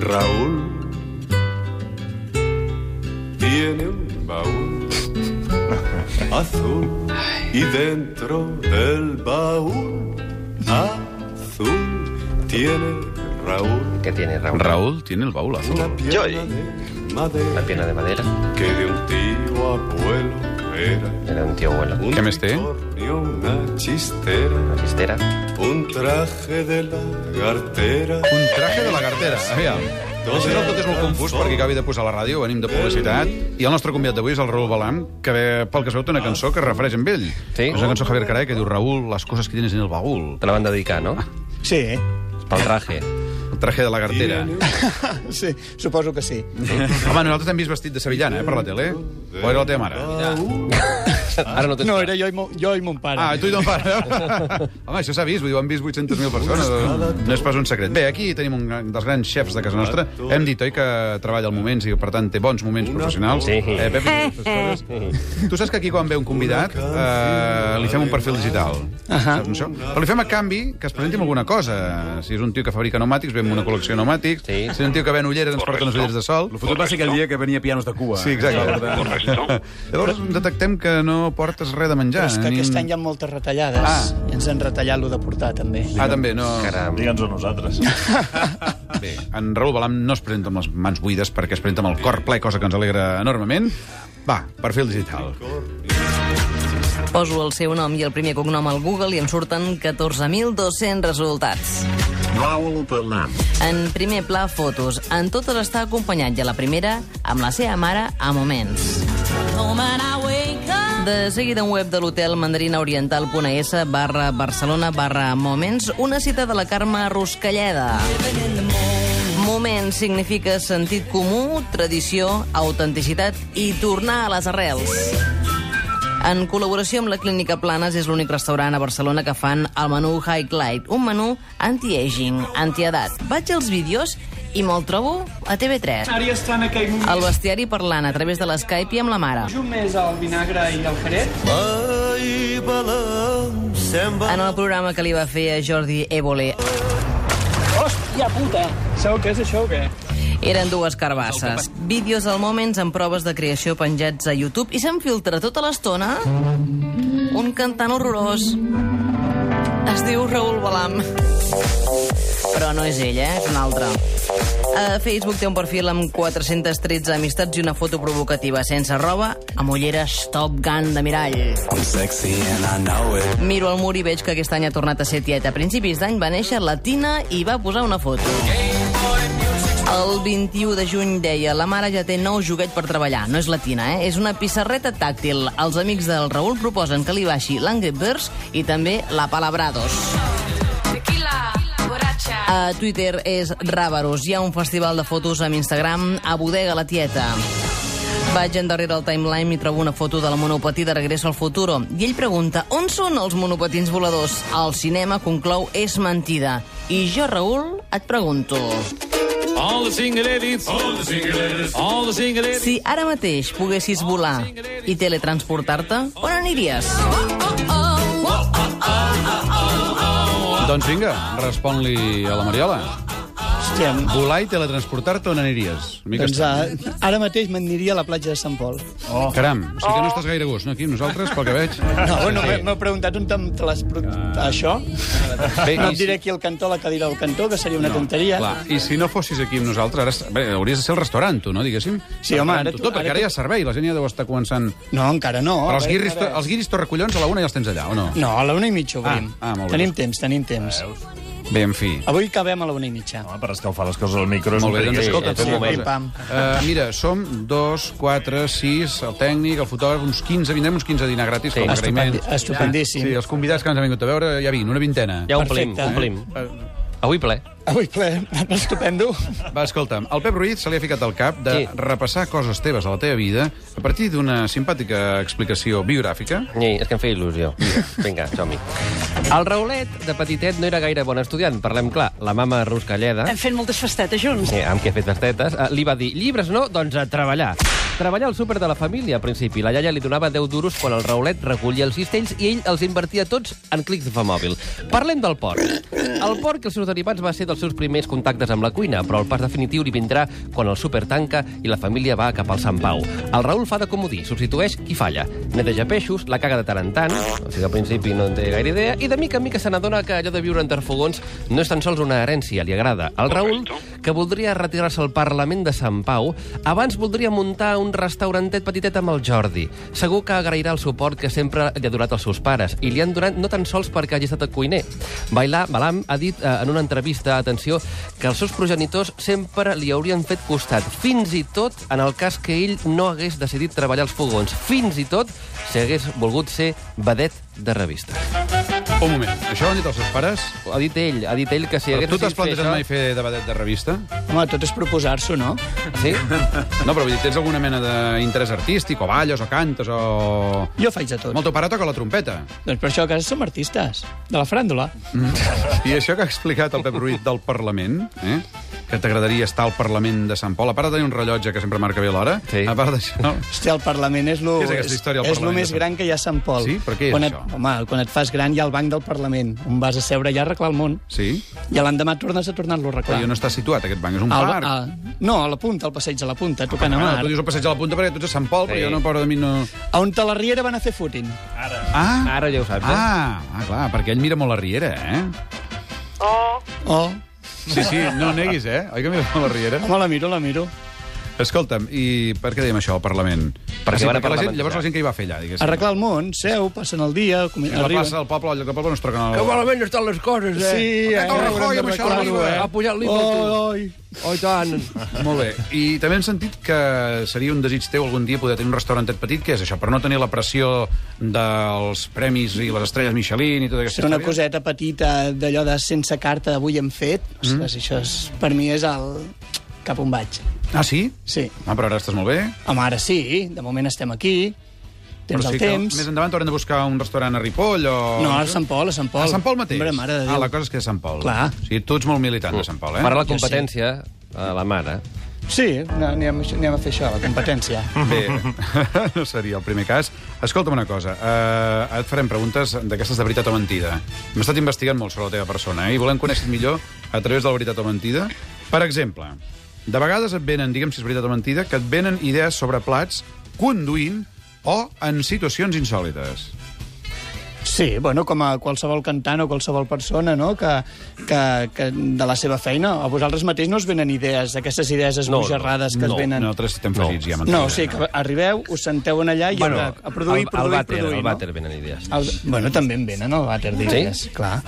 Raúl tiene un baúl azul y dentro del baúl azul tiene Raúl ¿Qué tiene Raúl? Raúl tiene el baúl azul. una pierna Joy. de madera Una pierna de madera. que de un tío abuelo era Era un tío abuelo. un ¿Qué me esté? unicornio, una chistera, Una chistera. un traje de la cartera. Un traje de la cartera. Aviam. Si no, tot és molt confús, perquè acabi de posar la ràdio, venim de publicitat, i el nostre convidat d'avui és el Raül Balan, que ve, pel que es veu té una cançó que es refereix amb ell. Sí. És una cançó de Javier Caray que diu, Raül, les coses que tienes en el baúl. Te la van dedicar, no? Sí, eh? Pel traje. El traje de la cartera. sí, suposo que sí. Home, nosaltres t'hem vist vestit de sevillana, eh, per la tele. O era la teva mare? Ara Ah. no tens... No, era jo i, mo, jo i mon pare. Ah, i tu i ton pare. Home, això s'ha vist, vull dir, ho han vist 800.000 persones. No és pas un secret. Bé, aquí tenim un gran- dels grans xefs de casa nostra. Hem dit, oi, que treballa al moments i, per tant, té bons moments professionals. Sí. Eh, Pep, aquestes coses. tu saps que aquí, quan ve un convidat, eh, li fem un perfil digital. Ahà. Saps això? Però li fem a canvi que es presenti amb alguna cosa. Si és un tio que fabrica pneumàtics, ve amb una col·lecció de pneumàtics. Sí. Si és un tio que ven ulleres, ens porta unes ulleres de sol. Lo fotut va ser aquell dia que venia pianos de Cuba. Sí, exacte. Llavors detectem que no portes res de menjar. És que ni aquest un- any hi ha moltes mm. retallades. Ah. I ens han retallat lo de portar, també. Ah, també, no... Ah. Caram. Digue'ns a nosaltres. Bé, en Raül Balam no es presenta amb les mans buides perquè es presenta amb el cor ple, cosa que ens alegra enormement. Va, perfil digital. Poso el seu nom i el primer cognom al Google i em surten 14.200 resultats. Raoul Balan. En primer pla, fotos. En totes està acompanyat i a la primera, amb la seva mare, a moments. De seguida, un web de l'hotel mandarinaoriental.es barra Barcelona barra moments, una cita de la Carme Ruscalleda. Moment significa sentit comú, tradició, autenticitat i tornar a les arrels. En col·laboració amb la Clínica Planes és l'únic restaurant a Barcelona que fan el menú High Light, un menú anti-aging, anti-edat. Vaig als vídeos i me'l trobo a TV3. Ara ja està en aquell moment. El bestiari parlant a través de l'Skype i amb la mare. Jo més al vinagre i al caret. En el programa que li va fer a Jordi Évole Hòstia puta! Sabeu què és això o què? eren dues carbasses. Vídeos al Moments amb proves de creació penjats a YouTube i se'n filtra tota l'estona un cantant horrorós. Es diu Raül Balam. Però no és ell, eh? És un altre. A Facebook té un perfil amb 413 amistats i una foto provocativa sense roba, amb ulleres Top Gun de mirall. Miro al mur i veig que aquest any ha tornat a ser tieta. A principis d'any va néixer la Tina i va posar una foto. El 21 de juny deia la mare ja té nou joguet per treballar. No és latina, eh? És una pissarreta tàctil. Els amics del Raül proposen que li baixi l'Angry Birds i també la Palabrados. Tequila, borracha. A Twitter és Ràbaros. Hi ha un festival de fotos amb Instagram a Bodega la Tieta. Vaig endarrere al timeline i trobo una foto del monopatí de Regreso al Futuro. I ell pregunta, on són els monopatins voladors? El cinema conclou, és mentida. I jo, Raül, et pregunto... Si ara mateix poguessis volar i teletransportar-te, on aniries? Doncs vinga, respon-li a la Mariola. Ah, Hòstia, Volar i teletransportar-te on aniries? Una mica doncs estrany. a, ara mateix me'n aniria a la platja de Sant Pol. Oh. Caram, o sigui que no estàs gaire a gust, no? Aquí amb nosaltres, pel que veig. ah. No, bueno, m'he- m'heu preguntat on te, te l'has... pro- Això? Ah. Bé, i No et si- diré aquí el cantó, la cadira del cantó, que seria una tonteria. Clar, i si no fossis aquí amb nosaltres, ara s- bé, hauries de ser el restaurant, tu, no, diguéssim? Sí, home, ara Restaurant, tu- tot, perquè ara ara tu- hi ha servei, la gent ja deu estar començant... No, encara no. Però els A veure, guiris, a veure. els guiris torracollons a la una ja els tens allà, o no? No, a la una i mitja obrim. Ah, ah, molt bé. tenim temps, tenim temps. Bé, en fi. Avui acabem a la una i mitja. Home, per escalfar les coses al micro és Molt bé, un doncs perill. escolta, és fem un una moment. cosa. Eh, mira, som dos, quatre, sis, el tècnic, el fotògraf, uns 15, vindrem uns 15 a dinar gratis sí. com a agraïment. Estupendi estupendíssim. Sí, els convidats que ens han vingut a veure, ja vinc, una vintena. Ja omplim, Perfecte. omplim. Avui ple. Avui ple, estupendo. Va, escolta'm, al Pep Ruiz se li ha ficat al cap de Sí. repassar coses teves de la teva vida a partir d'una simpàtica explicació biogràfica. Sí, és que em feia il·lusió. Vinga, som-hi. El Raulet, de petitet, no era gaire bon estudiant, parlem clar. La mama Ruscalleda... Hem fet moltes festetes junts. Eh, amb què he fet festetes, eh, li va dir, llibres no, doncs a treballar. Treballar al súper de la família, al principi. La iaia li donava 10 duros quan el Raulet recollia els cistells i ell els invertia tots en clics de fa mòbil. Parlem del porc. El porc i els seus derivats va ser dels els seus primers contactes amb la cuina, però el pas definitiu li vindrà quan el súper tanca i la família va cap al Sant Pau. El Raül fa de comodí, substitueix qui falla. Neteja peixos, la caga de tant en tant, o sigui, al principi no en té gaire idea, i de mica en mica se n'adona que allò de viure entre fogons no és tan sols una herència, li agrada. El Raül, que voldria retirar-se al Parlament de Sant Pau, abans voldria muntar un restaurantet petitet amb el Jordi. Segur que agrairà el suport que sempre li ha donat els seus pares, i li han donat no tan sols perquè hagi estat cuiner. Bailà Balam ha dit eh, en una entrevista, atenció, que els seus progenitors sempre li haurien fet costat, fins i tot en el cas que ell no hagués decidit treballar als fogons, fins i tot si hagués volgut ser vedet de revista. Un moment, això ho han dit els seus pares? Ha dit ell, ha dit ell que si hagués Però tu t'has decidit fer plantejat això- mai fer de vedet de revista? Home, tot és proposar-s'ho, no? Sí? No, però vull dir, tens alguna mena d'interès artístic, o balles, o cantes, o... Jo faig de tot. Molt teu pare toca la trompeta. Doncs per això a casa som artistes, de la fràndula. Mm. I això que ha explicat el Pep Ruiz del Parlament, eh? que t'agradaria estar al Parlament de Sant Pol, a part de tenir un rellotge que sempre marca bé l'hora, Sí. a part d'això... Hòstia, el Parlament és lo, Què és aquesta història, el és lo Parlament més de Sant- gran que hi ha a Sant Pol. Sí? Però què és quan això? Et, home, quan et fas gran hi ha el banc del Parlament, on vas a seure i a arreglar el món. Sí? I l'endemà tornes a tornar-lo a Clar. arreglar. I on està situat aquest banc? És un Al- parc? a- no, a la punta, al passeig de la punta, tocant a Ah, mar. tu dius el passeig de la punta perquè tu ets a Sant Pol, sí. Sí. però jo no, pobre de mi, no... A on te la riera van a fer footing. Ah, Ara ja ho saps, eh? ah, ah, clar, perquè ell mira molt la Riera, eh? Oh, Sí, sí, no ho neguis, eh? Oi que mira molt la Riera? home, la miro, la miro. Escolta'm, i per què dèiem això al Parlament? Perquè van a la gent, parlamentar. llavors la gent que hi va fer allà, diguéssim. Arreglar el món, seu, passen el dia, com- A la arriben... plaça del poble, al lloc del poble no es troquen... Que El... malament estan les coses, eh? Sí, eh, Aquest el haurem Rajoy de amb això recordar-ho, arriba, eh? Ha pujat l'IVA, tu. Oi, oi. Oh, i tant. Molt bé. I també hem sentit que seria un desig teu algun dia poder tenir un restaurantet petit, que és això, per no tenir la pressió dels premis i les estrelles Michelin i tota aquesta Ser una història? coseta petita d'allò de sense carta d'avui hem fet, Mm. ostres, això és, per mi és el cap on vaig. Ah, sí? Sí. Ah, però ara estàs molt bé. Home, ara sí, de moment estem aquí, tens però el sí que temps... Més endavant t'haurem de buscar un restaurant a Ripoll o... No, a Sant Pol, a Sant Pol. A Sant Pol mateix? Hombre, mare de Déu. Ah, la cosa és que és Sant Pol. Clar. O sigui, tu ets molt militant de Sant Pol, eh? Farà la Jo sí. competència a la mare. Sí, no, anem, anem a fer això, la competència. Bé, no seria el primer cas. Escolta'm una cosa, uh, et farem preguntes d'aquestes de veritat o mentida. Hem estat investigant molt sobre la teva persona eh? i volem conèixer millor a través de la veritat o mentida. Per exemple, de vegades et venen, diguem si és veritat o mentida, que et venen idees sobre plats conduint o en situacions insòlites. Sí, bueno, com a qualsevol cantant o qualsevol persona, no?, que, que, que de la seva feina. A vosaltres mateix no us venen idees, d'aquestes idees esbojarrades que no, es venen... Nosaltres estem fregits, ja No, o sigui que arribeu, us senteu en allà i bueno, a, a produir, al, produir, al vàter, produir. al vàter venen idees. No? El, bueno, també en venen, el vàter, digues. Sí? Clar.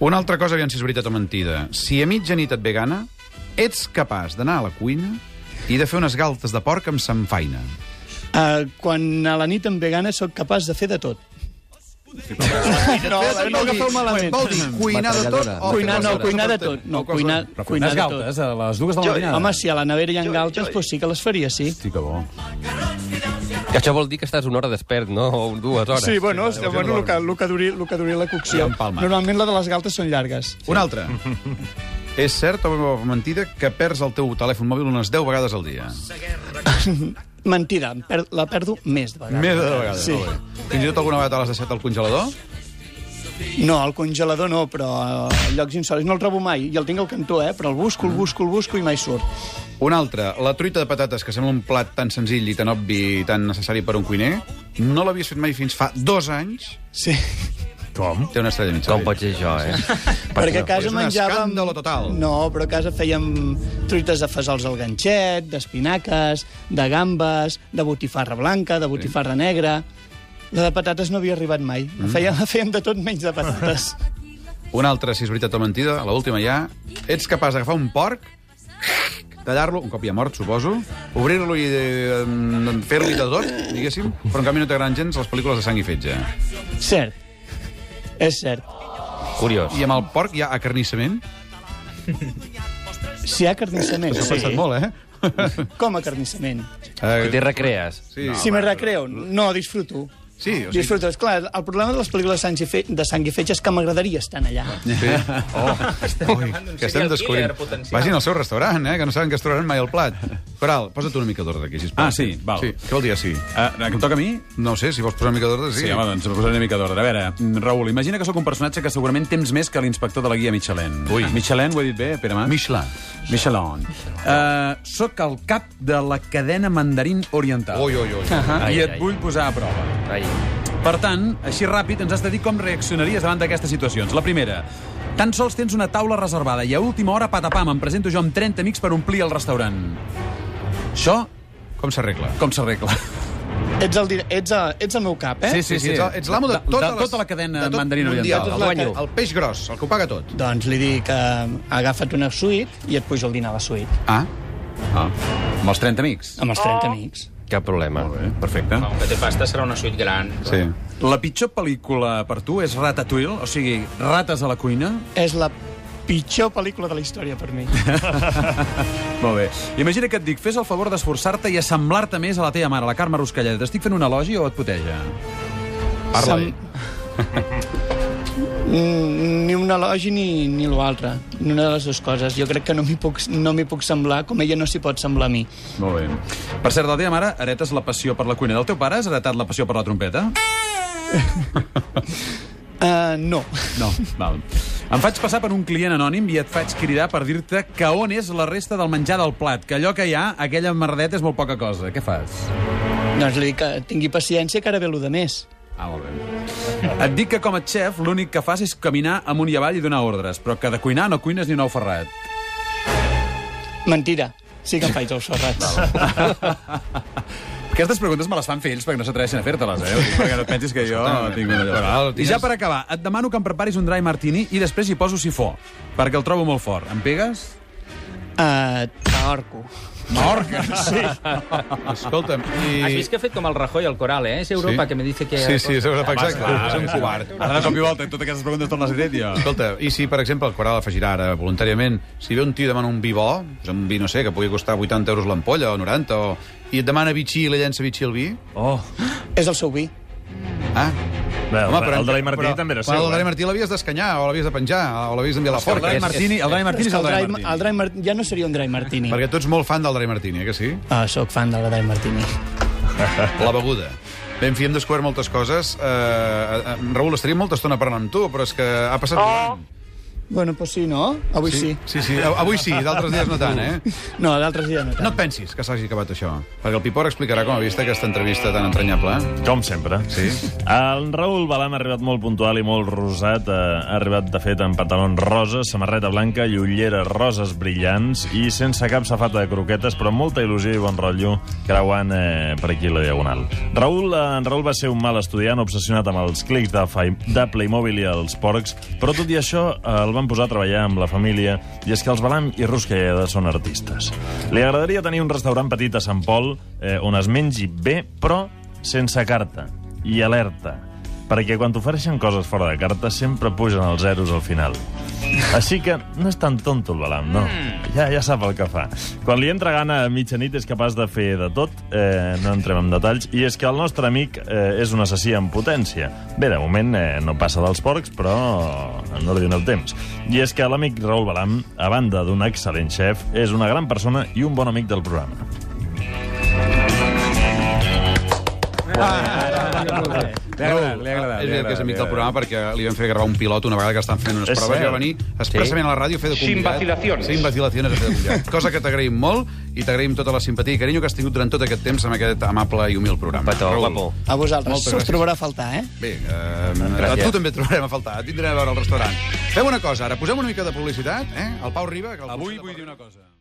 Una altra cosa, aviam si és veritat o mentida. Si a mitjanit et ve gana, ets capaç d'anar a la cuina i de fer unes galtes de porc amb samfaina. Uh, quan a la nit em ve gana, sóc capaç de fer de tot. No, eh, no ho agafeu malament. Vol dir cuinar de tot o Cuinar, no, fer cuinar de coses tot. No, coses cuinar, Però fer cuinar unes de tot. galtes a les dues de la matinada. Home, si a la nevera hi ha galtes, doncs sí que les faria, sí. Hosti, que bo. Que això vol dir que estàs una hora despert, no? O dues hores. Sí, bueno, hòstia, bueno, el que, el que duri, el que duri la cocció. Empalma. Normalment la de les galtes són llargues. Una altra. És cert o mentida que perds el teu telèfon mòbil unes 10 vegades al dia? Mentida, em per, la perdo més de vegades. Més de 10 vegades. Sí. molt bé. Fins i tot alguna vegada l'has deixat al congelador? No, al congelador no, però a llocs insòlids no el trobo mai. I el tinc al cantó, eh? Però el busco, el busco, el busco i mai surt. Una altra. La truita de patates, que sembla un plat tan senzill i tan obvi i tan necessari per un cuiner, no l'havies fet mai fins fa dos anys. Sí. Com? Té una estrella mitja. Com pot ser això, eh? Perquè a És casa un menjàvem... escàndalo total. No, però a casa fèiem truites de fesols al ganxet, d'espinaques, de gambes, de botifarra blanca, de botifarra negra... La de patates no havia arribat mai. Mm. La fèiem, la fèiem de tot menys de patates. Una altra, si és veritat o mentida, a l'última ja. Ets capaç d'agafar un porc, tallar-lo, un cop ja mort, suposo, obrir-lo i eh, em, fer-li de tot, diguéssim, però en canvi no t'agraden gens les pel·lícules de sang i fetge. cert. És cert. Curiós. I amb el porc hi ha acarnissament. Si hi ha carnissament, Això ha sí. passat molt, eh? Com a carnissament? I t'hi eh recrees. sí. Ah, si me recreo, no disfruto. Sí, o O sigui... Disfrutes. Clar, el problema de les pel·lícules de sang i fe- de sang i fetge és que m'agradaria estar allà. Sí. Oh. Ui, que estem descobrint. Vagin al seu restaurant, eh, que no saben que es trobaran mai el plat. Coral, posa't una mica d'ordre aquí, sisplau. Ah, sí, val. Sí. Què vol dir sí? Uh, que em toca a mi? No ho sé, si vols posar una mica d'ordre, sí. Sí, home, doncs posaré una mica d'ordre. A veure, mm, Raül, imagina que sóc un personatge que segurament temps més que l'inspector de la guia Michelin. Ui. Michelin, ho he dit bé, Pere Mas? Michelin. Michelin. Uh, soc el cap de la cadena mandarín oriental. Ui, ui, ui. Ah, Ai, I et ai. vull posar a prova. Ai. Per tant, així ràpid, ens has de dir com reaccionaries davant d'aquestes situacions. La primera, tan sols tens una taula reservada i a última hora, patapam, em presento jo amb 30 amics per omplir el restaurant. Això, Com s'arregla? com s'arregla? Ets el, dir- ets, el, ets el meu cap, eh? Ets, el- ets l'amo de, de, totes de les- tota la cadena de tot mandarina mundial, tota oriental. la- Guanyo. El peix gros, el que ho paga tot. Doncs li dic, eh, agafa't una suite i et pujo al dinar a la suite, Ah, Ah, amb els 30 amics. amb els 30 amics. Cap problema. Perfecte. Que té pasta serà una suite gran. sí. La pitjor pel·lícula per tu és Ratatouille, o sigui, rates a la cuina. És la pitjor pel·lícula de la història per mi. Molt bé. Imagina que et dic, fes el favor d'esforçar-te i assemblar-te més a la teva mare, la Carme Ruscalleda. T'estic fent un elogi o et puteja? Parla-hi. Mm, ni un elogi ni, ni l'altre. Ni una de les dues coses. Jo crec que no m'hi puc, no m'hi puc semblar com ella no s'hi pot semblar a mi. Molt bé. Per cert, de la teva mare heretes la passió per la cuina. Del teu pare has heretat la passió per la trompeta? Uh, no. No. Val. Em faig passar per un client anònim i et faig cridar per dir-te que on és la resta del menjar del plat, que allò que hi ha, aquella merdeta és molt poca cosa. Què fas? Doncs li dic que tingui paciència que ara ve lo de més. Ah, molt bé. Et dic que com a xef l'únic que fas és caminar amunt i avall i donar ordres, però que de cuinar no cuines ni un ou ferrat. Mentira. Sí que em faig els ferrats. Aquestes preguntes me les fan fills perquè no s'atreveixen a fer-te-les, eh? Ho dic Perquè no et pensis que jo tinc una Però, allò. I ja per acabar, et demano que em preparis un dry martini i després hi poso sifó, perquè el trobo molt fort. Em pegues? Uh, T'ahorco. Morca! Sí. Escolta'm, i... Has vist que ha fet com el Rajoy al coral, eh? És Europa que me dice que... Ah, Sí, sí, és Europa, exacte. és un covard. Ara de cop i volta, totes aquestes preguntes tornes a dir, tio. Escolta, i si, per exemple, el Coral afegirà ara voluntàriament, si ve un tio i demana un vi bo, doncs un vi, no sé, que pugui costar 80 euros l'ampolla o 90, o... i et demana bitxí i la llença bitxí al vi... Oh. És el seu vi. Ah, Bé, Quan eh? el Dani Martí l'havies d'escanyar, o l'havies de penjar, o l'havies d'enviar a la El forca. dry És- martini, el dry martini és el dry martini. el dry martini. Ja no seria un dry martini. Perquè tu ets molt fan del Dani Martini, eh, que sí? Ah, sóc fan del dry martini. La beguda. Bé, en fi, hem descobert moltes coses. Uh, uh, Raül, estaria molta estona parlant amb tu, però és que ha passat... Oh. Bueno, doncs sí, no? Avui sí. Sí, sí, a- avui sí, d'altres dies no tant, eh? No, d'altres ja no tant. No et pensis que s'hagi acabat això, perquè el Pipor explicarà com ha vist aquesta entrevista tan entranyable. eh? Com sempre. Sí. El Raül Balam ha arribat molt puntual i molt rosat. eh, Ha arribat, de fet, amb pantalons roses, samarreta blanca i ulleres roses brillants i sense cap safata de croquetes, però amb molta il·lusió i bon rotllo creuant eh, per aquí la diagonal. Raül, eh, en Raül va ser un mal estudiant obsessionat amb els clics de, Fai- de Playmobil i els porcs, però tot i això eh, el van posar a treballar amb la família i és que els Balam i Ruscalleda són artistes. Li agradaria tenir un restaurant petit a Sant Pol eh, on es mengi bé, però sense carta i alerta, perquè quan t'ofereixen coses fora de carta sempre pugen els zeros al final. Així que no és tan tonto el Balam, no. Ja, ja sap el que fa. Quan li entra gana a mitjanit és capaç de fer de tot, eh, no entrem en detalls, i és que el nostre amic eh, és un assassí en potència. Bé, de moment eh, no passa dels porcs, però no li dona el temps. I és que l'amic Raül Balam, a banda d'un excel·lent xef, és una gran persona i un bon amic del programa. Li ha agradat, li ha agradat. És li ha veritat que és agradat, amic li ha del programa perquè li van fer gravar un pilot una vegada que estan fent unes És proves i va cert. venir expressament a la ràdio a fer de convidat. Sin vacilaciones. Sin vacilaciones a fer de convidat. Cosa que t'agraïm molt i t'agraïm tota la simpatia i carinyo que has tingut durant tot aquest temps amb aquest amable i humil programa. Petó, Raül. guapo. A vosaltres. Moltes Us gràcies. trobarà a faltar, eh? Bé, eh, a tu també et trobarem a faltar. Et vindrem a veure al restaurant. Fem una cosa, ara posem una mica de publicitat, eh? El Pau Riba... Que el Avui vull dir una cosa.